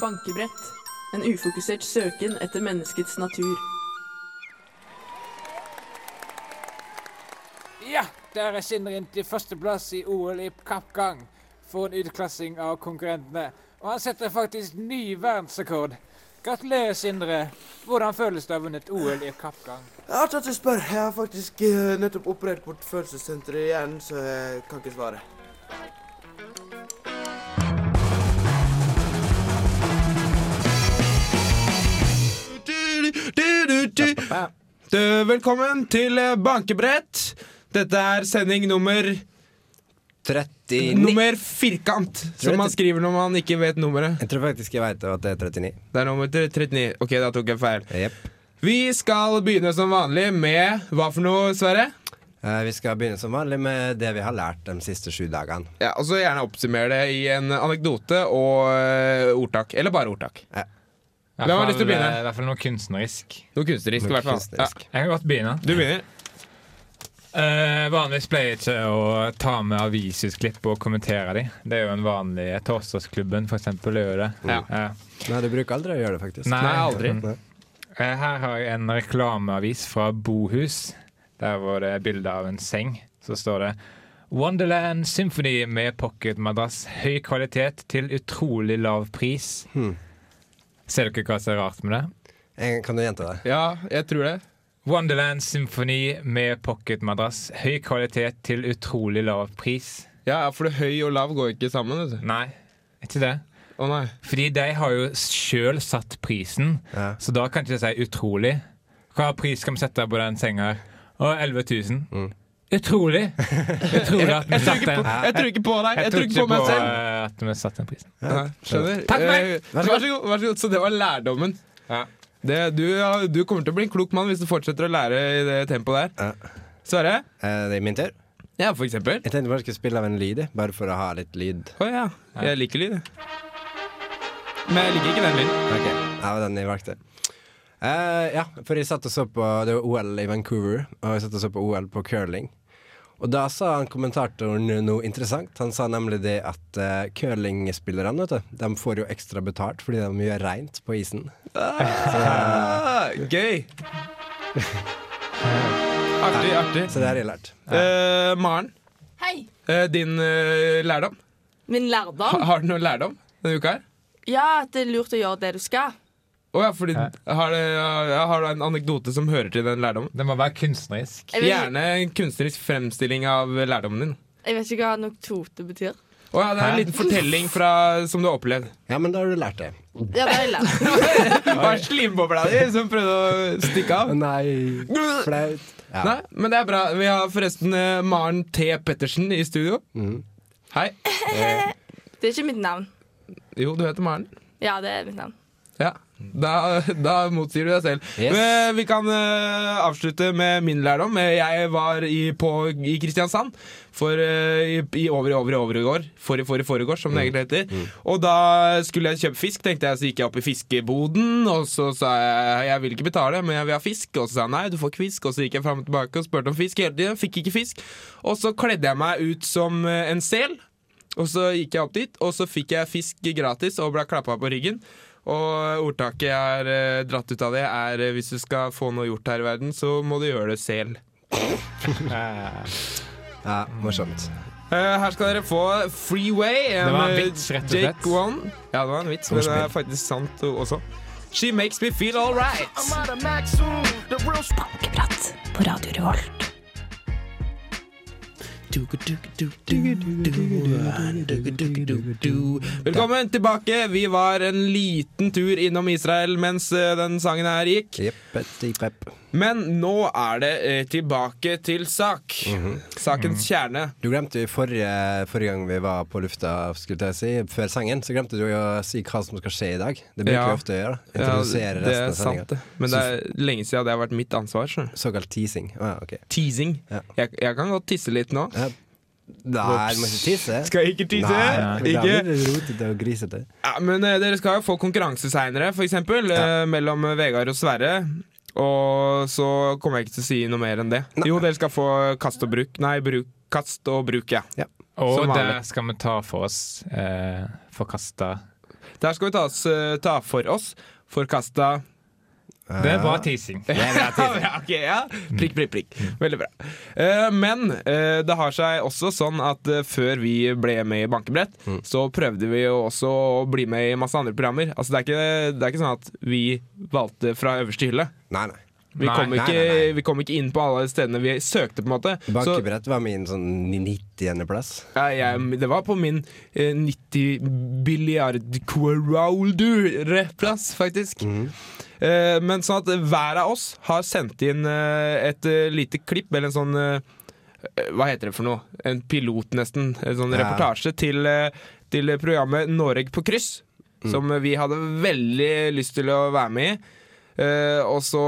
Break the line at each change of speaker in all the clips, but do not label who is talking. bankebrett. En ufokusert søken etter menneskets natur.
Ja, der er Sindre inn til førsteplass i OL i kappgang for en utklassing av konkurrentene. Og han setter faktisk ny verdensrekord. Gratulerer, Sindre. Hvordan føles det å ha vunnet OL i kappgang?
Artig at du spør. Jeg har faktisk eh, nettopp operert bort følelsessenteret i hjernen, så jeg kan ikke svare.
Velkommen til Bankebrett. Dette er sending nummer
39
Nummer firkant, som man skriver når man ikke vet nummeret.
Jeg tror faktisk jeg veit at det er 39.
Det er nummer 39. Ok, da tok jeg feil.
Jepp.
Vi skal begynne som vanlig med hva for noe, Sverre?
Eh, Vi skal begynne som vanlig med det vi har lært de siste sju dagene.
Ja, Og så gjerne oppsummere det i en anekdote og eh, ordtak. Eller bare ordtak.
I
Hvem har
hvert
lyst til
fall,
å begynne?
eh, I hvert fall noe kunstnerisk.
Noe kunstnerisk, i
Noe
hvert fall. Ja,
kunstnerisk.
Jeg kan godt begynne.
du begynner.
Eh, vanligvis pleier jeg ikke å ta med avisutklipp og kommentere de. Det er jo en vanlig Torsdagsklubben, for eksempel. Er jo det.
Ja.
Eh,
Nei, du bruker aldri å gjøre det, faktisk.
Nei.
Nei, aldri.
Eh, Her har jeg en reklameavis fra Bohus. Der var det bilde av en seng. Så står det Wonderland Symphony med pocketmadrass. Høy kvalitet til utrolig lav pris. Ser dere hva som er rart med det?
Eh, Kan du gjenta det?
Ja, jeg tror det.
Wonderland Symphony med pocketmadrass. Høy kvalitet til utrolig lav pris.
Ja, For høy og lav går ikke sammen. vet du.
Nei, ikke det.
Å nei.
Fordi de har jo sjøl satt prisen,
Ja.
så da kan ikke jeg si utrolig. Hva pris skal vi sette på den senga her? Å, 11 000. Utrolig! Utrolig at vi satte den.
Mm. Jeg tror ikke på deg. Jeg tror ikke på
ikke
meg
på
selv.
eh, at vi satte den prisen.
Nei, skjønner.
Takk for meg.
Eh, Vær så god. vær så god. Så det var lærdommen.
Ja.
Det, du, ja, du kommer til å bli en klok mann hvis du fortsetter å lære i det tempoet der. Sverre?
Eh, Det er min tur.
Ja, for eksempel.
Jeg tenkte bare jeg skulle spille av en lyd, jeg, bare for å ha litt lyd.
Å ja. Jeg liker lyd, jeg. Men jeg liker ikke den lyden.
Ok, ja, det var den jeg valgte. Eh, ja, for jeg satt og så på Det var OL i Vancouver, og jeg satt og så på OL på curling. Og da sa han kommentatoren noe interessant. Han sa nemlig det at eh, curlingspillerne vet du, de får jo ekstra betalt fordi de gjør reint på isen.
Ah, gøy. Artig, artig.
Så det har jeg lært.
Eh, Maren,
Hei!
eh, din eh, lærdom.
Min
Ha,
lærdom?
har du noe lærdom denne uka her?
Ja, at det er lurt å gjøre det du skal.
Å ja, fordi har, det- ja, har du en anekdote som hører til den lærdommen?
Det må være kunstnerisk.
Jeg vet,
Gjerne en kunstnerisk fremstilling av lærdommen din.
jeg vet ikke hva anekdote betyr.
Å ja, det er en
Hæ?
liten fortelling fra, som du har opplevd.
Ja, men da har du lært det.
Ja, det har jeg lært.
Det var slimbobla di som prøvde å stikke av.
Nei, flaut. Ja.
Nei, men det er bra. Vi har forresten eh, Maren T. Pettersen i studio. Hei.
Det er ikke mitt navn.
Jo, du heter Maren.
Ja, det er mitt navn.
Ja. Da, da motsier du deg selv.
Yes.
Men Vi kan eh, avslutte med min lærdom. Eh, Jeg var i, på, i Kristiansand for, eh, i, i over i over i over i går. For i for i foregår, som det egentlig heter. Og da skulle jeg kjøpe fisk, tenkte jeg, så gikk jeg opp i fiskeboden. Og så sa jeg jeg vil ikke betale, men jeg vil ha fisk. Og så sa han nei, du får ikke fisk. Og så gikk jeg fram og tilbake og spurte om fisk hele tiden. Fikk ikke fisk. Og så kledde jeg meg ut som eh, en sel. Og så gikk jeg opp dit, og så fikk jeg fisk gratis og ble klappa på ryggen. Og ordtaket jeg har eh, dratt ut av det, er eh, hvis du skal få noe gjort her i verden, så må du gjøre det selv.
Eh,
Ja, morsomt.
Eh, her skal dere få Freeway. En,
Det var en
eh,
vits, rett og
Jake
slett.
One. Ja, det var en vits, men det er faktisk sant o- også. She makes me feel alright.
Bankeprat på Radio Revolt.
Velkommen tilbake. Vi var en liten tur innom Israel mens eh, den sangen her gikk.
Jepp, jepp, jepp.
Men nå er det eh, tilbake til sak.
Mhm.
Sakens kjerne.
Du glemte jo i forrige, forrige gang vi var på lufta, skulle jeg si, før sangen, så glemte du jo å si hva som skal skje i dag. Det bruker
Ja.
vi ofte å gjøre. Introdusere
det
resten
er
av
sant,
sendinga.
det. Men det er lenge siden det har vært mitt ansvar. skjønner du.
Såkalt teasing. Å ja, ok.
Teasing.
Ja.
Jeg, jeg kan godt tisse litt nå.
Ja. Nei, du må ikke tisse.
Skal jeg ikke tisse?
Nei, for da
Ikke?
blir det rotete og grisete.
Ja, men eh, dere skal jo få konkurranse seinere, f.eks. Eh, mellom eh, Vegard og Sverre. Og så kommer jeg ikke til å si noe mer enn det. Jo, dere skal få kast og bruk. Nei, bruk, kast og bruk, ja.
Ja.
Og
Som vanlig.
der skal vi ta for oss eh, forkasta
Der skal vi ta, oss, eh, ta for oss forkasta
Det er bra teasing.
Eh. ja, ok, ja. Prikk, prikk, prikk. Veldig bra. Eh, men eh, det har seg også sånn at eh, før vi ble med i Bankebrett,
Mm.
så prøvde vi jo også å bli med i masse andre programmer. Altså, det er ikke, det er ikke sånn at vi valgte fra øverste hylle.
Nei, nei.
Vi,
Nei,
kom
nei,
ikke,
nei, nei.
vi kom ikke inn på alle stedene vi søkte, på en måte. Så,
Bankebrett var min sånn 90. plass.
ja, jeg, det var på min eh, 90 billiard-kvaroldure-plass, faktisk. Eh, men sånn at hver av oss har sendt inn eh, et eh, lite klipp, eller en sånn eh, Hva heter det for noe? En pilot, nesten. En sånn
Ja.
reportasje til, eh, til programmet Noreg på kryss. Som vi hadde veldig lyst til å være med i. Eh, og så,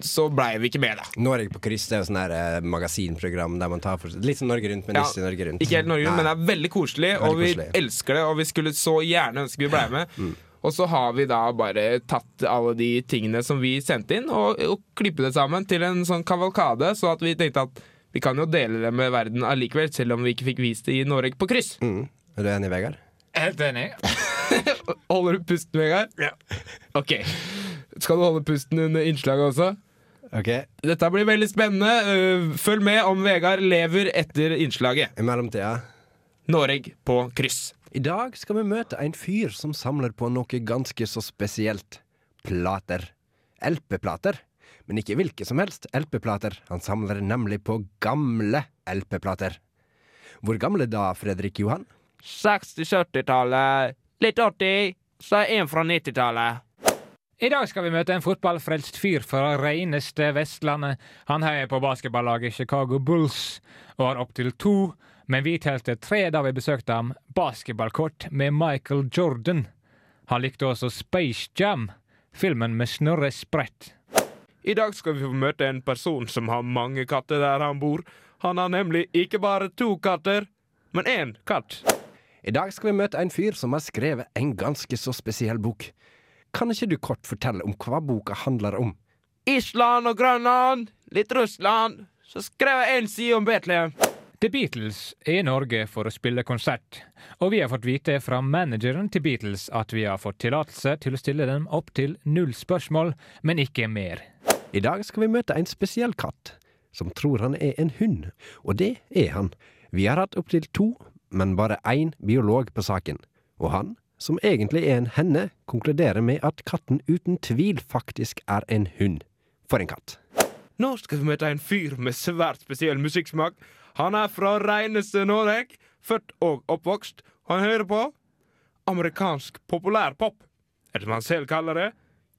så blei vi ikke med, da.
Norge på kryss, det er jo sånn der eh, magasinprogram der man tar for Litt som Norge Rundt, men
Ja,
ikke Norge Rundt.
Ikke helt Norge Rundt,
Nei.
men det er veldig koselig,
Veldig
og vi
koselig. Mm.
elsker det. Og vi skulle så gjerne ønske vi ble med. Og så har vi da bare tatt alle de tingene som vi sendte inn, og, og klippet det sammen til en sånn kavalkade, så at vi tenkte at vi kan jo dele det med verden allikevel, selv om vi ikke fikk vist det i Norge på kryss.
Mm. Er du enig, Vegard?
Helt enig.
Holder du pusten, Vegard? Ja. Ok. Skal du holde pusten under innslaget også?
Ok.
Dette blir veldig spennende. Uh, Følg med om Vegard lever etter innslaget.
I mellomtida
Norge på kryss.
I dag skal vi møte en fyr som samler på noe ganske så spesielt. Plater. LP-plater. Men ikke hvilke som helst LP-plater. Han samler nemlig på gamle LP-plater. Hvor gamle da, Fredrik Johan?
60-70-tallet. Litt 80, så er en fra 90-tallet.
I dag skal vi møte en fotballfrelst fyr fra reineste Vestlandet. Han heier på basketballaget Chicago Bulls og har opptil to, men vi telte tre da vi besøkte ham, basketballkort med Michael Jordan. Han likte også Space Jam, filmen med Snorre Sprett.
I dag skal vi få møte en person som har mange katter der han bor. Han har nemlig ikke bare to katter, men én katt.
I dag skal vi møte en fyr som har skrevet en ganske så spesiell bok. Kan ikke du kort fortelle om hva boka handler om?
Island og Grønland, litt Russland. Så skrev jeg en side om Betlehem.
The Beatles er i Norge for å spille konsert, og vi har fått vite fra manageren til Beatles at vi har fått tillatelse til å stille dem opp til null spørsmål, men ikke mer.
I dag skal vi møte en spesiell katt, som tror han er en hund, og det er han. Vi har hatt opptil to, men bare én biolog på saken, og han, som egentlig er en henne, konkluderer med at katten uten tvil faktisk er en hund. For en katt.
Nå skal vi møte en fyr med svært spesiell musikksmak. Han er fra reineste Norge, født og oppvokst. Han hører på amerikansk populærpop, eller som han selv kaller det,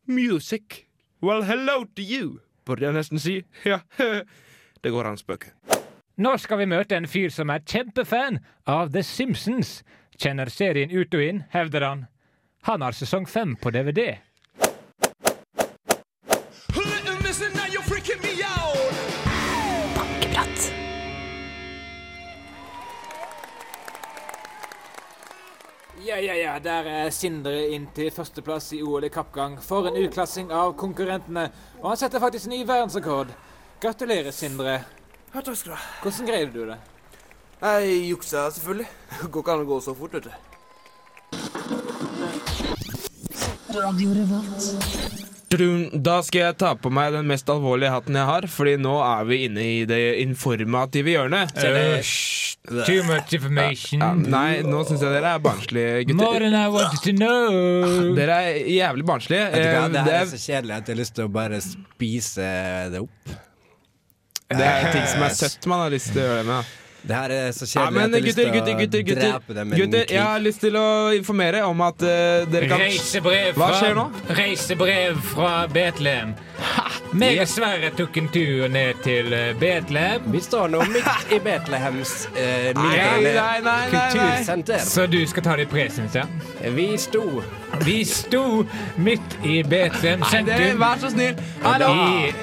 music. Well, hello to you, burde jeg nesten si. Ja, det går an å spøke.
Nå skal vi møte en fyr som er kjempefan av The Simpsons. Kjenner serien ut og inn, hevder han. Han har sesong fem på DVD.
Bankeprat.
Ja, ja, ja. Der er Sindre inn til førsteplass i OL i kappgang. For en utklassing av konkurrentene. Og han setter faktisk ny verdensrekord. Gratulerer, Sindre.
Ja, takk skal du ha.
Hvordan greide du det?
Jeg juksa selvfølgelig. Går ikke an å gå så fort, vet du.
Radio Revolt.
Tudum. Da skal jeg ta på meg den mest alvorlige hatten jeg har, fordi nå er vi inne i det informative hjørnet.
Eh, hysj. Too much
Ja,
information.
nei, nå syns jeg dere er barnslige
More
gutter.
than I wanted to
Mm.
know.
Dere er jævlig barnslige. Eh,
Det her
det
er
er-
så kjedelig at jeg har lyst til å bare spise det opp.
Det er ting som er søtt man har lyst til å gjøre det med. da.
Det her er så
Ja,
kjedelig
men
at jeg har lyst
gutter,
til
gutter, gutter,
å
gutter,
drepe det med en
gutter Jeg
kniv.
har lyst til å informere om at eh, dere kan
Reisebrev
Hva
fra,
skjer nå?
Reisebrev fra Betlehem. Meg og Sverre tok en tur ned til eh, Betlehem.
Vi står nå midt i Betlehems
Nei, nei,
eh, middelalder-
nei, nei, nei.
kultursenter.
Så du skal ta det i presens, ja?
Vi sto
Vi sto midt i Betlehem
Dere,
sentrum.
Vær så snill. Nei, da.
I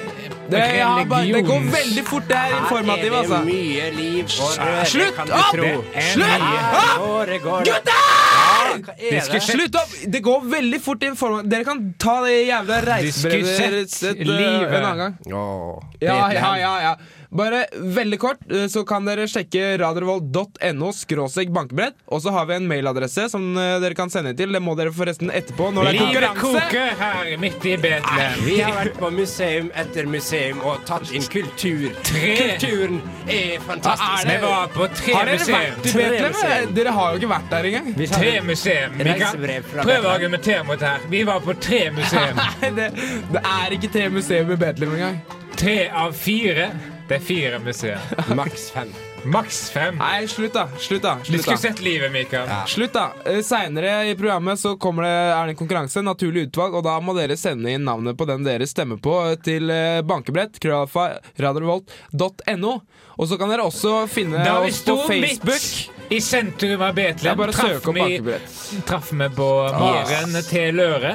Det, ja, bare, det går
religions-
veldig fort, det er
Her
informativt,
er det
altså.
mye liv og røre,
Slutt
kan
opp!
du tro.
Det er
Slutt
mye.
opp!
Foregår det
Gutter!
Hva er det?
Slutt opp! Det går veldig fort informativt. Dere kan ta det jævla reisebrevet
Diskussett
deres et, eh,
livet.
en annen gang.
Åh,
Ja, ja,
Betlehem.
ja, ja. Bare veldig kort, eh, så kan dere sjekke radiorevolt.no skråstrek bankebrett. Og så har vi en mailadresse som eh, dere kan sende inn til. Det må dere forresten etterpå når det er
Livet
konkurranse.
koker her midt i
Vi
Betlehem.
har vært på museum etter museum og tatt inn kultur.
Tre.
Kulturen er fantastisk.
Vi var på tre
Har dere
museum.
vært i Betlehem? Dere har jo ikke vært der engang.
Vi tar-
Tre museum. Vi kan
Reisebrev fra
prøve å
Betlehem.
argumentere mot det her. Vi var på tre museum.
Nei, det, det er ikke tre museum i Betlehem engang.
Tre av fire. Det er fire museum.
Maks fem.
Maks fem.
Nei, slutt, da. Slutt, da.
Du
Slutt,
skulle
da.
sett livet, Mikael.
Slutt da. Eh, Seinere i programmet så kommer det, er det en konkurranse, naturlig utvalg, og da må dere sende inn navnet på den dere stemmer på eh, til eh, bankebrett, krøllalfa, radiorevolt.no. Og og så kan dere også finne
Da vi
oss på
sto
Facebook.
midt i sentrum av
Det er
Betlehem,
bare å
traff
søke Ah. opp
vi,
bankebrett.
traff vi på Maren til Løre.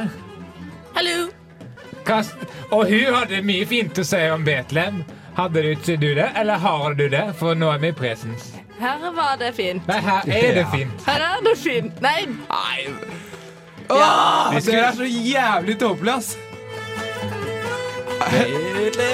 Hallo!
Kast- Og hun hadde mye fint å si om Betlehem. Hadde du ikke du det, eller har du det? For nå er vi i presens.
Her var det fint.
Nei, her er det fint.
Her er det fint. Nei,
Åh, dere er så jævlig tåpelige, ass. Dette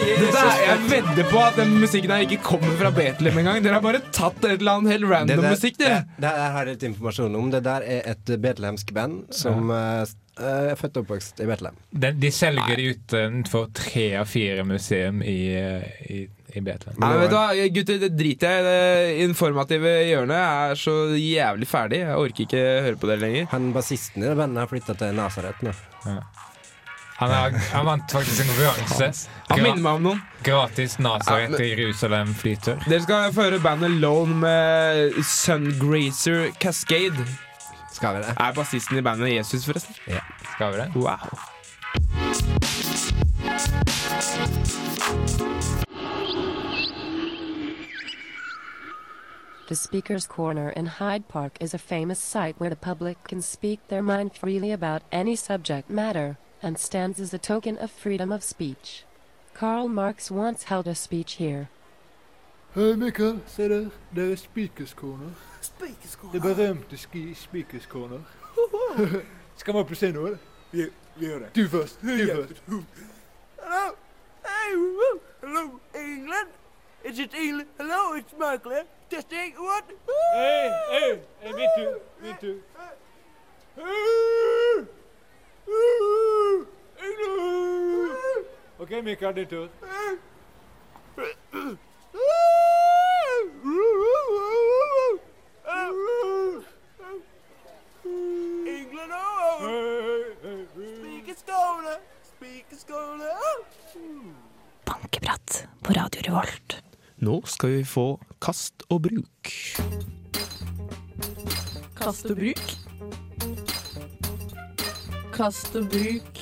er, jeg vedder på at den musikken her ikke kommer fra Betlehem engang. Dere har bare tatt et eller annet helt
Det
random
der-
musikk, dere.
Det, det her har jeg litt informasjon om. Det der er et betlehemsk band som eh, s- eh, er født og oppvokst i Betlehem.
De, de selger det ut utenfor tre av fire museum i, eh, i, i Betlehem.
Nei, men vet du hva, gutter, det driter jeg i. Det informative hjørnet er så jævlig ferdig. Jeg orker ikke høre på dere lenger.
Han bassisten i det bandet har flytta til Nasaret nå.
Han, er, han vant faktisk en konkurranse.
Han minner
Gra
meg om noen.
gratis Nazaret til Jerusalem flytur.
Dere skal få høre bandet Lone med Sungreaser Cascade.
Skal vi det?
Er bassisten i bandet Jesus, forresten?
Skal vi det?
Wow.
The Speaker's Corner in Hyde Park is a famous site where the public can speak their mind freely about any subject matter, and stands as a token of freedom of speech. Karl Marx once held a speech here.
Hei, Mikael. Se der. Det er Speakers Corner. Det berømte ski Speakers Corner. Skal vi opp og se noe, eller?
Vi, vi gjør det.
Du først. Du først.
Hello, hey, woo, hello, England. Is it England? Hello, it's Michael. Testing what?
Hei, hei. Min tur. Min tur. OK, Mikael, din tur.
England, oh, speak is gonna, speak is gonna. Oh.
Bankeprat på Radio Revolt.
Nå skal vi få kast og bruk.
Kast og bruk. Kast og bruk.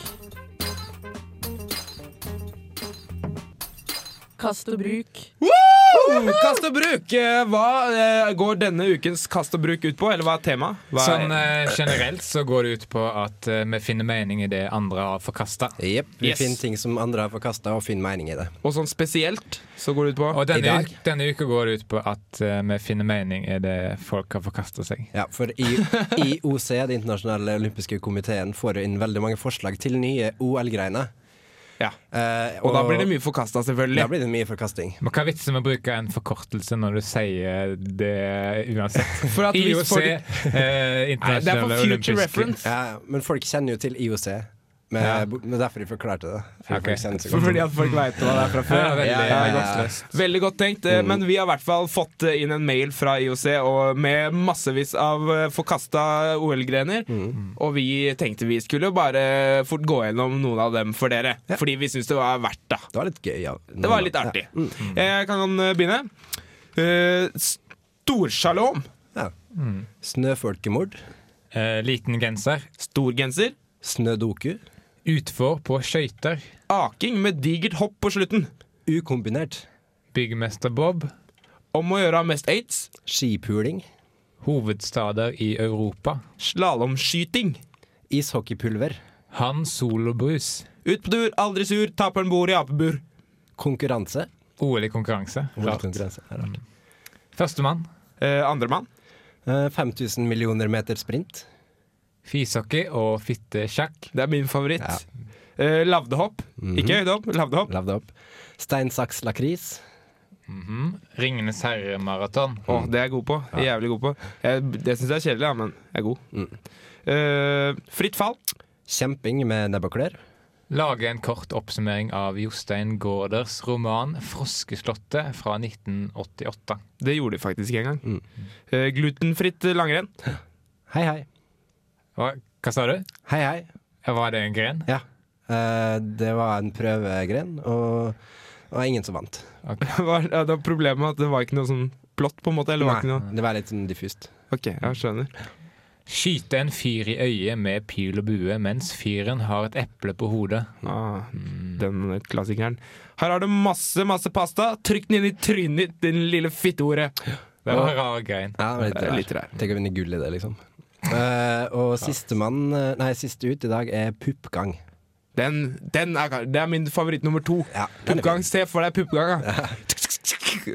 Kast og bruk.
Kast og bruk! eh, Hva eh, går denne ukens kast og bruk ut på, eller hva er temaet? Hva er-
Sånn eh, generelt så går det ut på at eh, vi finner mening i det andre har forkasta.
Jepp. Vi
Yes.
finner ting som andre har forkasta, og finner mening i det.
Og sånn spesielt så går det ut på
Og
I
denne,
dag?
u- denne uka går det ut på at eh, vi finner mening i det folk har forkasta seg.
Ja, for I, IOC, Det internasjonale olympiske komiteen, får jo inn veldig mange forslag til nye OL-greiner.
Ja.
Eh,
Og da blir det mye forkasta,
Da
selvfølgelig.
blir det mye forkasting.
Men hva er vitsen med å bruke en forkortelse når du sier det uansett?
For at hvis
IOC, E, eh,
folk- Nei, det er for
internasjonale
future
olympiske
reference.
Ja, men folk kjenner jo til IOC. Men
Ja.
men derfor de forklarte det. For
Ok.
folk kjenner så
For-
godt.
Fordi at folk veit hva det er fra før.
Ja, veldig,
veldig
ja.
godt
Veldig godt tenkt. eh, Men vi har i hvert fall fått eh, inn en mail fra IOC og med massevis av eh, forkasta OL-grener. Og vi tenkte vi skulle bare fort gå gjennom noen av dem for dere. Fordi vi syns det var verdt det.
Det var litt gøy. Ja.
Det var litt artig. Jeg kan eh, begynne. Eh, Storsjalom.
Ja.
Mm.
Snøfolkemord.
Eh, liten genser.
Storgenser.
Snødoku.
Utfor på skøyter.
Aking med digert hopp på slutten.
Ukombinert.
Byggmester Bob.
Om å gjøre mest aids.
Skipuling.
Hovedstader i Europa.
Slalåmskyting.
Ishockeypulver.
Han solobrus.
Ut på tur, aldri sur, taperen bor i apebur.
Konkurranse.
OL i konkurranse. Klart.
Konkurranse. Det er rart.
Mm.
Førstemann.
Eh, Andremann.
Eh, 5000 millioner meter sprint.
Fishockey og fittesjakk.
Det er min favoritt. Eh, lavdehopp.
Mhm.
Ikke høydehopp, lavdehopp.
Lavdehopp. Stein, saks, lakris.
Mhm. Ringenes herre-maraton.
Å,
Mm.
det er jeg god på. Jævlig god på. Jeg, det syns jeg er kjedelig, ja, men jeg er god.
Mm.
Eh, fritt fall.
Kjemping med nebb og klør.
Lage en kort oppsummering av Jostein Gaarders roman 'Froskeslottet' fra 1988.
Det gjorde de faktisk en gang.
Mm.
Eh, glutenfritt langrenn.
Hei, hei.
Hva, hva sa du?
Hei, hei.
Var det en gren?
Ja. Eh, det var en prøvegren, og det var ingen som vant.
Var, ja, det var problemet med at det var ikke noe sånn plott, på en måte? Eller var ikke noe
Det var litt sånn diffust.
Ok, jeg skjønner.
Skyte en fyr i øyet med pil og bue mens fyren har et eple på hodet.
Mm.
Ah, Den klassikeren. Her har du masse, masse pasta. Trykk den inn i trynet ditt, din lille fittehore.
Det var en rar grein.
Ja, det
Det
var
er
litt
litt
rar. Tenk å vinne gull i det, liksom. Eh, og sistemann eh, Nei, siste ut i dag er puppgang.
Den, den er, det er min favoritt nummer to.
Ja, den er
Puppgang. Se for deg puppgang. da.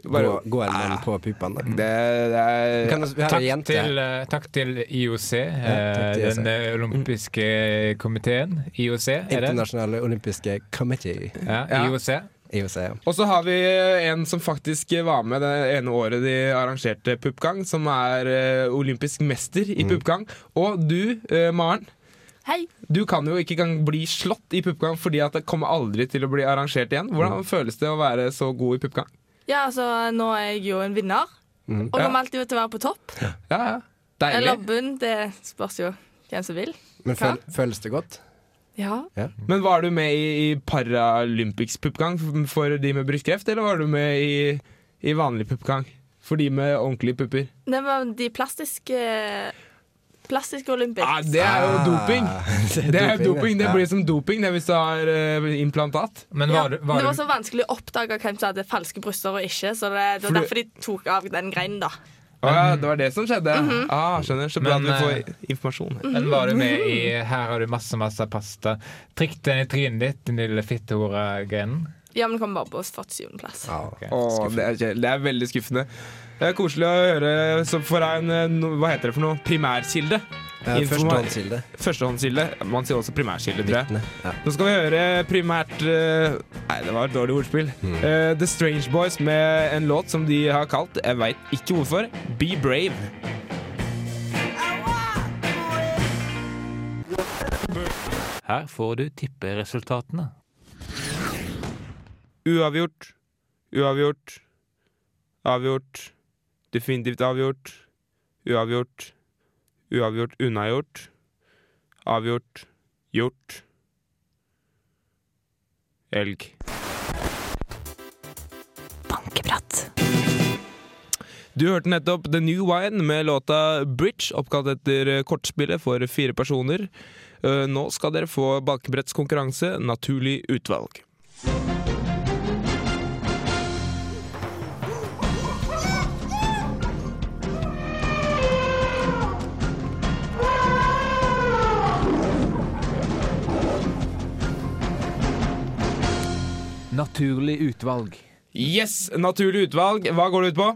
Gå,
Bare- Ah.
gå en mann på puppene.
Det, det er
Kan vi- vi har en
Takk
jente her.
til, eh, takk til IOC,
takk til
eh,
IOC.
den eh, olympiske komiteen. IOC, er det?
Internasjonale olympiske committee.
Ja,
Ja.
IOC.
IOC. ja.
Og så har vi en som faktisk var med det ene året de arrangerte puppgang, som er eh, olympisk mester i puppgang. Og du, eh, Maren,
Hei.
du kan jo ikke engang bli slått i puppgang fordi at det kommer aldri til å bli arrangert igjen. Hvordan føles det å være så god i puppgang?
Ja, altså, nå er jeg jo en vinner. Og
Ja.
kommer alltid til å være på topp.
Ja, ja.
Eller
Deilig.
bunn. Det spørs jo hvem som vil.
Men
Hva?
føl, føles det godt?
Ja.
Men var du med i, i Paralympics puppgang f- for de med brystkreft, eller var du med i, i vanlig puppgang for de med ordentlige pupper?
Det var de plastiske Plastiske olympics.
Ja, det er jo
Ah,
doping! Det er jo doping, det
ja.
blir som doping det hvis du har eh, implantat.
Men
Ja,
var, du-
men
var,
det var sånn,
du,
så vanskelig å oppdage hvem som hadde falske bryster og ikke, så det, det
For
var
du-
derfor de tok av den greinen, da.
Å ja, det var det som skjedde? ah, skjønner. Så bra at
Men,
vi får informasjon. her.
men var
mm.
du med i 'Her har du masse, masse pasta'? Trikk den i trynet ditt, din lille fittehore-grenen.
Ja, men det kom bare på 47. plass.
Ja.
Å, det, er, kjedelig. det er veldig skuffende. Det er koselig å høre så for en eh, no, Hva heter det for noe? Primærkilde?
Eh,
Informa-
Førstehåndskilde.
Førstehåndskilde. Man sier også primærkilde, tror jeg.
Vitne. Ja.
Nå skal vi høre primært eh, Nei, det var et dårlig ordspill. Eh, The Strange Boys med en låt som de har kalt, jeg veit ikke hvorfor, Be Brave.
Her får du tipperesultatene.
Uavgjort. Uavgjort. Avgjort. Definitivt avgjort. Uavgjort. Uavgjort. Unnagjort. Avgjort. Gjort. Elg.
Bankebrett.
Du hørte nettopp The New Wine med låta Bridge, oppkalt etter kortspillet for fire personer. Eh, Nå skal dere få bakebrettskonkurranse, naturlig utvalg.
Naturlig utvalg.
Yes, naturlig utvalg. Hva går det ut på?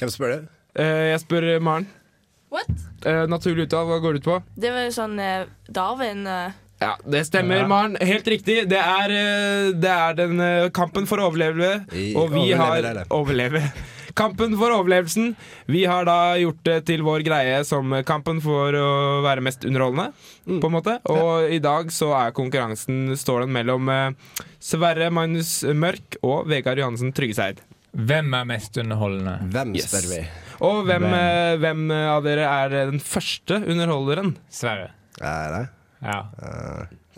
Hvem spør du?
Eh, Jeg spør eh, Maren.
What?
Eh, Naturlig utvalg, hva går det ut på?
Det var jo sånn eh, Darwin eh,
Ja, det stemmer,
Ja.
Maren. Helt riktig. Det er, eh, det er den eh, kampen for å overleve,
I-
og vi
overleve, det er
har
det.
Overleve. Kampen for overlevelsen. Vi har da gjort det til vår greie som kampen for å være mest underholdende,
Mm.
på en måte. Og i dag så er konkurransen står den mellom eh, Sverre Magnus Mørk og Vegard Johansen Tryggeseid.
Hvem er mest underholdende?
Hvem
Yes.
spør vi?
Og hvem,
Hvem?
eh, hvem av dere er eh, den første underholderen?
Sverre.
Er det?
Ja.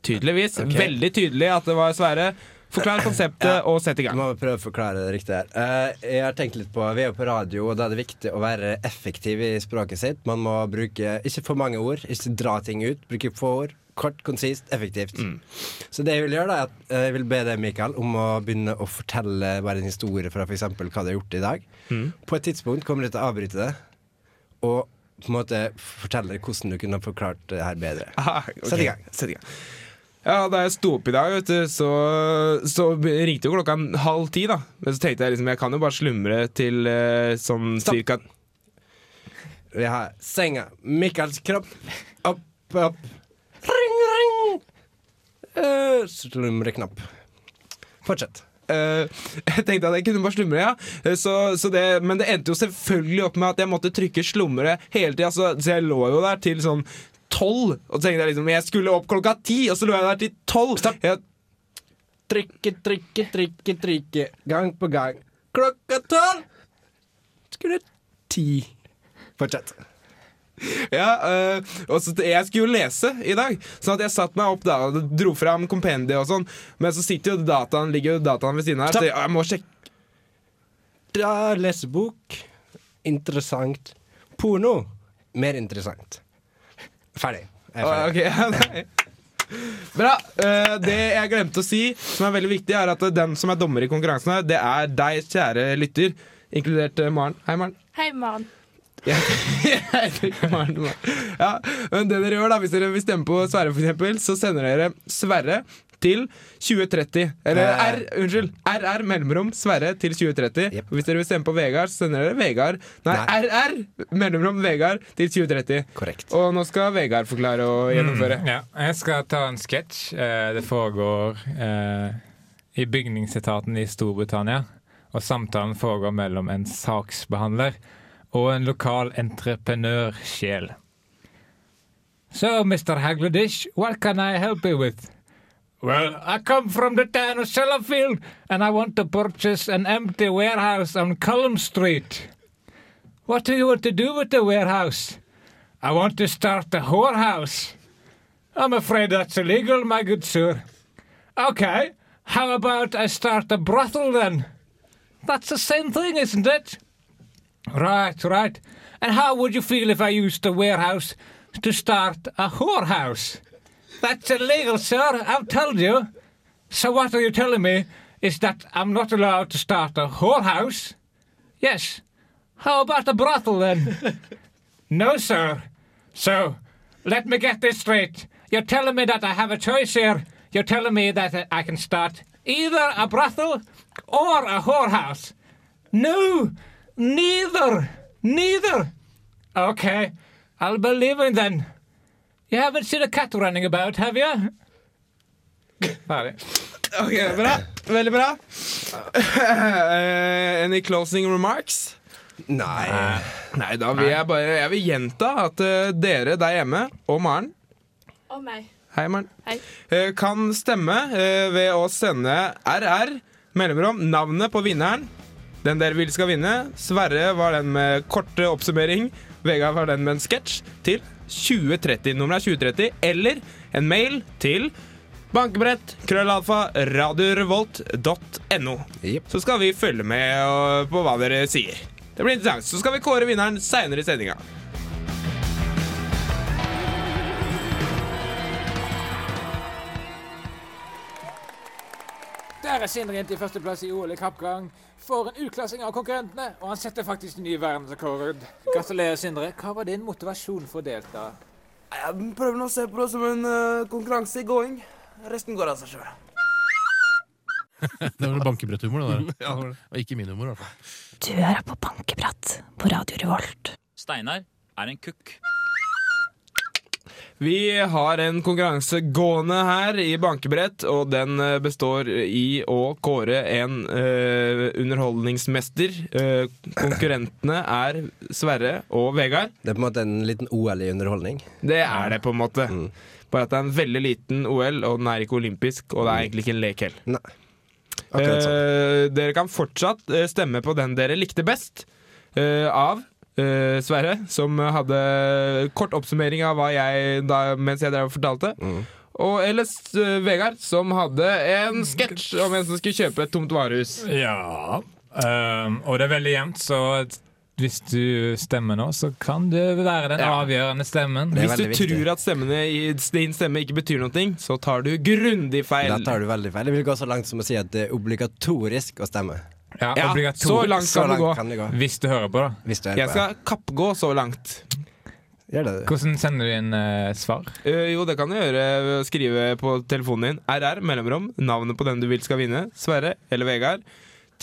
Tydeligvis.
Ok.
Veldig tydelig at det var Sverre. Forklar konseptet og sett i gang.
Du må prøve å forklare det riktig her. Eh, jeg har tenkt litt på, Vi er jo på radio, og da er det viktig å være effektiv i språket sitt. Man må bruke ikke for mange ord, ikke dra ting ut. Bruke få ord. Kort, konsist, effektivt.
Mm.
Så det jeg vil gjøre da, er at eh, jeg vil be deg, Mikael, om å begynne å fortelle bare en historie fra f.eks. hva du har gjort i dag.
Mm.
På et tidspunkt kommer du til å avbryte det, og på en måte fortelle hvordan du kunne ha forklart det her bedre.
Ah, ok.
Sett i gang.
Sett i gang. Ja, Da jeg sto opp i dag, vet du, så, så ringte jo klokka en halv ti. da Men så tenkte jeg liksom, jeg kan jo bare slumre til eh, sånn
Stopp.
cirka
Vi har senga, Mikkels kropp, opp, opp. Ring, ring! Eh, slumreknapp. Fortsett.
Eh, jeg tenkte at jeg kunne bare slumre, ja. Eh, Så, så det, men det endte jo selvfølgelig opp med at jeg måtte trykke slumre hele tida. Så, så jeg lå jo der til sånn tolv. Og så tenkte jeg liksom Jeg skulle opp klokka ti, og så lå jeg der til tolv. Jeg-
Trykke, trykke, trykke, trykke. Gang på gang. Klokka tolv skulle ti. Fortsett.
Ja, eh, og så Jeg skulle jo lese i dag, sånn at jeg satte meg opp da og dro fram kompendiet og sånn. Men så sitter jo dataen ligger jo dataen ved siden her,
Stopp.
så jeg, jeg må sjekke.
Da lesebok. Interessant. Porno. Mer interessant. Ferdig. Jeg er
Ah,
ferdig.
ok, ja, nei. Bra. Eh, det jeg glemte å si, som er veldig viktig, er at den som er dommer i konkurransen her, det er deg, kjære lytter, inkludert eh, Maren. Hei, Maren.
Hei, Maren.
Maren, Maren. Ja, men det dere gjør da, Hvis dere vil stemme på Sverre, for eksempel, så sender dere Sverre til 2030. Eller
Eh.
R, unnskyld. RR mellomrom Sverre til 2030. Og Hvis dere vil stemme på Vegard, så sender dere Vegard Nei, RR mellomrom Vegard til 2030.
Korrekt.
Og nå skal Vegard forklare og gjennomføre.
Mm, ja. Jeg skal ta en sketsj. Eh, Det foregår eh, i bygningsetaten i Storbritannia. Og samtalen foregår mellom en saksbehandler og en lokal entreprenørsjel. So, Mr. Hagladish, what can I help you with? Well, I come from the town of Sellafield, and I want to purchase an empty warehouse on Cullum Street. What do you want to do with the warehouse? I want to start a whorehouse. I'm afraid that's illegal, my good sir. Okay, how about I start a brothel then? That's the same thing, isn't it? Right, right. And how would you feel if I used the warehouse to start a whorehouse? That's illegal, sir. I've told you. So what are you telling me is that I'm not allowed to start a whorehouse? Yes. How about a brothel then? no, sir. So, let me get this straight. You're telling me that I have a choice here. You're telling me that uh, I can start either a brothel or a whorehouse. No, neither, neither. Okay, I'll be leaving then. You haven't seen a cat running about, have you? Ferdig.
Ok, bra. Veldig bra. Eh, any closing remarks?
Nei.
Nei, da vil jeg bare Jeg vil gjenta at eh, dere der hjemme, og Maren
Og meg.
Hei, Maren.
Hei.
Eh, kan stemme eh, ved å sende RR, mellomrom, navnet på vinneren. Den dere vil skal vinne. Sverre var den med korte oppsummering. Vegard var den med en sketsj. Til 2030. Nummeret er 2030. Eller en mail til bankebrett, krøllalfa, radiorevolt.no. Så skal vi følge med og- på hva dere sier. Det blir interessant. Så skal vi kåre vinneren seinere i sendinga.
Der er Sindre inn til førsteplass i OL i kappgang. Får en utklassing av konkurrentene, og han setter faktisk ny verdensrekord. Gratulerer, Sindre. Hva var din motivasjon for å delta?
Jeg prøver nå å se på det som en eh, konkurranse i gåing. Resten går altså av seg sjøl.
Det var noe bankebretthumor, det der.
Ja, det var det.
Og ikke min humor, i hvert fall.
Du hører på Bankeprat på Radio Revolt.
Steinar er en kukk.
Vi har en konkurranse gående her i bankebrett, og den eh, består i å kåre en eh, underholdningsmester. Eh, konkurrentene er Sverre og Vegard.
Det er på en måte en liten OL i underholdning.
Det er det, på en måte. Bare at det er en veldig liten OL, og den er ikke olympisk, og det er egentlig ikke en lek heller.
Akkurat sånn.
Eh, dere kan fortsatt eh, stemme på den dere likte best eh, av eh, Sverre, som hadde kort oppsummering av hva jeg da, mens jeg drev og fortalte.
Mm.
Og ellers eh, Vegard, som hadde en sketsj om en som skulle kjøpe et tomt varehus.
Ja. Ehm, og det er veldig jevnt, så hvis du stemmer nå, så kan du være den
Ja.
avgjørende stemmen.
Hvis du tror at stemmene i din stemme ikke betyr noe, så tar du grundig feil.
Da tar du veldig feil. Jeg vil gå så langt som å si at det er obligatorisk å stemme.
Ja,
Ja,
obligatorisk.
så langt kan du gå.
Hvis du hører på, da.
Hvis du
Jeg skal kappgå så langt.
Hvordan sender du inn eh, svar?
Eh, jo, det kan du gjøre ved å skrive på telefonen din RR, mellomrom, navnet på den du vil skal vinne, Sverre eller Vegard,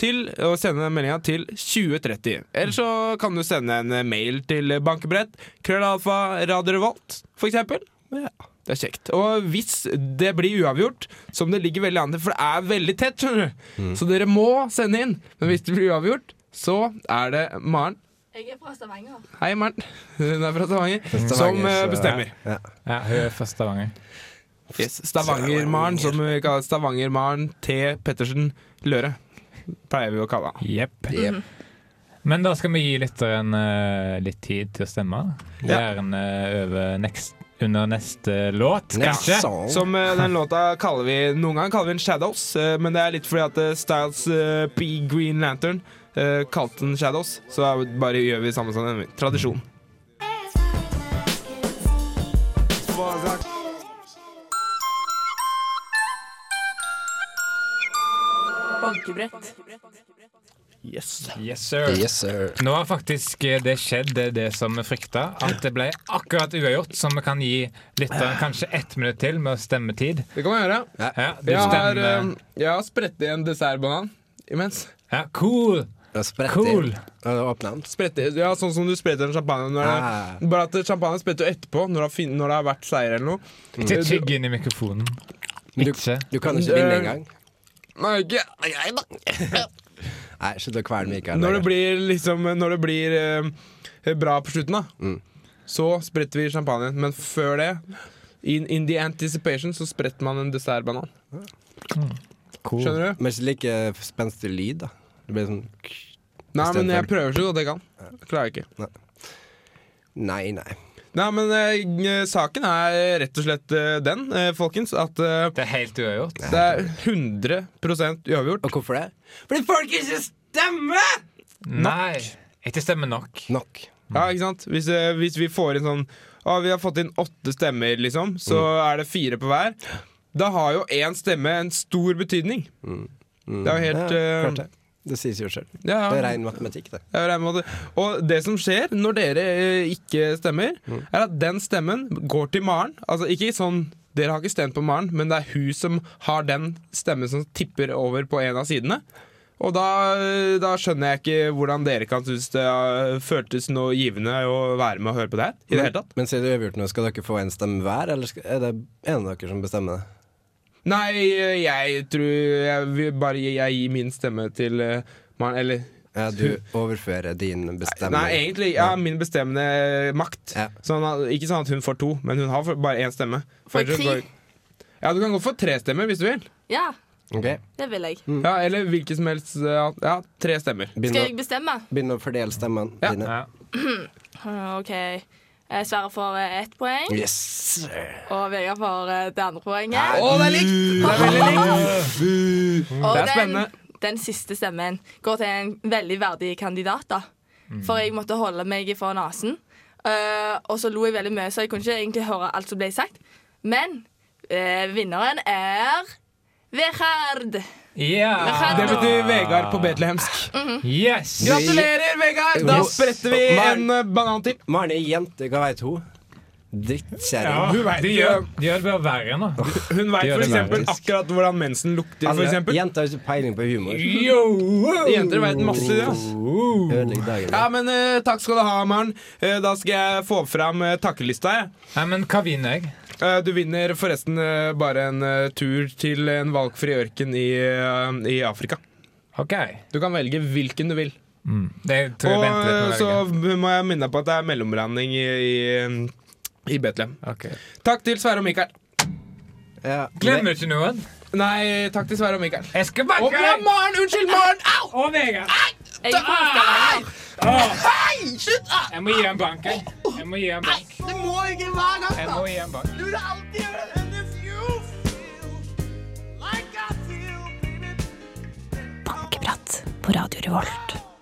til å sende meldinga til 2030. Eller så kan du sende en mail til bankebrett, krøllalfa, radiorevolt, for eksempel. Det er kjekt. Og hvis det blir uavgjort, som det ligger veldig an til, for det er veldig tett, skjønner du,
Mm.
så dere må sende inn. Men hvis det blir uavgjort, så er det Maren
Jeg er fra Stavanger.
Hei, Maren. Hun er fra Stavanger.
Stavanger,
som eh,
så-
bestemmer.
Ja,
ja hun er fra Stavanger.
Yes. Stavanger-Maren, som vi kaller Stavanger-Maren T. Pettersen Løre. Pleier vi å kalle han.
Jepp. Men da skal vi gi lytteren eh, litt tid til å stemme. Gjerne over next, under neste låt, kanskje.
Som eh, den låta kaller vi Noen ganger kaller vi den Shadows, eh, men det er litt fordi at eh, Styles eh, P. Green Lantern eh, kalte den Shadows, så da bare gjør vi samme som den. Tradisjon.
Bankebrett.
Yes.
Yes, sir. Nå har faktisk eh, det skjedd det, det som vi frykta. At det ble akkurat uavgjort, så vi kan gi lytteren kanskje ett minutt til med å stemme tid.
Det kan vi gjøre.
Ja, du
Jeg har,
stemmer.
eh, jeg har spredt i en dessertbanan imens.
Ja, cool.
Mm. Cool.
Åpne den.
Sprette, ja, sånn som du spretter en champagne. Når
Ah.
det, bare at champagne spretter jo etterpå, når det, har fin, når det har vært seier eller noe.
Ikke tygg inn i mikrofonen. Ikke.
Du kan ikke vinne engang.
Nei, ikke jeg, da.
Nei, slutt å kvele Mikael.
Når det blir, liksom, når det blir eh, bra på slutten, da, så spretter vi champagnen. Men før det, in, in the anticipation, så spretter man en dessertbanan. Skjønner
du? Men ikke like spenstig lyd, da. Det blir sånn
Nei, men jeg
Istedenfor-
prøver så godt jeg kan. Jeg klarer ikke.
Nei, nei. nei.
Nei, men eh, saken er rett og slett eh, den, eh, folkens, at eh,
Det er helt uavgjort.
Det er 100 uavgjort.
Og hvorfor det?
Fordi folk ikke stemmer!
Nei. Ikke stemmer nok.
Nok.
Ja, ikke sant? Hvis, eh, hvis vi får inn sånn Å, vi har fått inn åtte stemmer, liksom, så er det fire på hver. Da har jo én stemme en stor betydning. Det er jo helt
ja,
eh,
klart det. det sies jo sjøl.
Ja, ja.
Det er ren matematikk, det.
Ja, det er en måte. Og det som skjer når dere eh, ikke stemmer, er at den stemmen går til Maren. Altså ikke sånn dere har ikke stemt på Maren, men det er hun som har den stemmen som tipper over på en av sidene. Og da, eh, da skjønner jeg ikke hvordan dere kan synes det eh, føltes noe givende å være med og høre på det her. I
Mm.
det hele tatt.
Men sier du uavgjort nå, skal dere få en stemme hver, eller skal, er det en av dere som bestemmer det?
Nei, eh, jeg tror jeg vil bare gi- jeg gir min stemme til eh, Maren. Eller
Ja, du overfører din bestemming.
Nei, egentlig ja, min bestemmende makt. Sånn at, ikke sånn at hun får to, men hun har for- bare én stemme. For
Får jeg
ellers
tre?
går- Ja, Du kan gå for tre stemmer hvis du vil.
Ja, det vil jeg.
Mm.
Ja, Eller hvilke som helst. eh, Ja, tre stemmer.
Skal jeg bestemme?
Begynn å fordele stemmene dine.
Hm, OK. Eh, Sverre får eh, ett poeng.
Yes!
Og Vegard får eh, det andre poenget.
Å, det er likt!
Mm.
Det er veldig likt.
Og
Det er spennende.
Den, den siste stemmen går til en veldig verdig kandidat, da.
Mm.
For jeg måtte holde meg for nesen. Eh, og så lo jeg veldig mye, så jeg kunne ikke egentlig høre alt som ble sagt. Men eh, vinneren er Vegard.
Ja!
Det Mm. betyr Vegard på betlehemsk.
Yes!
Gratulerer, Vegard! Da spretter vi en eh, banan til.
Maren er jente, hva veit hun? Altså,
Ja,
Drittkjerring.
de, gjør, de gjør det bare verre nå.
Hun
De
veit
gjør det Altså,
f.eks.
verre.
akkurat hvordan mensen lukter. For
Alle
eksempel.
Jenter har ikke peiling på humor.
Jenter vet masse, de, ass.
Ødelegg dagen.
Ja, men eh, takk skal du ha, Maren. Eh, da skal jeg få fram eh, takkelista, jeg.
Nei, men hva vinner jeg?
Eh, du vinner forresten eh, bare en eh, tur til en valgfri ørken i, eh, i Afrika.
Ok.
Du kan velge hvilken du vil.
Mm. Det
Og
tror jeg venter litt
eh,
med å
så
velge.
må jeg minne deg på at det er mellomlanding i, i, i Betlehem. Takk til Sverre og Mikael.
Glemmer ikke noen.
Nei, takk til Sverre og Mikael.
Jeg skal bare
Og ja, Maren! Unnskyld, Maren! Au!
Og Vegard.
Jeg er fra Stavanger.
Hei! Slutt! Ah!
Jeg må gi en bank, jeg. Jeg må gi en bank.
Det må ikke hver gang,
Jeg må gi en bank.
Du vil alltid gjøre det. And if you feel like I feel, baby
Bankebrett på Radio Revolt.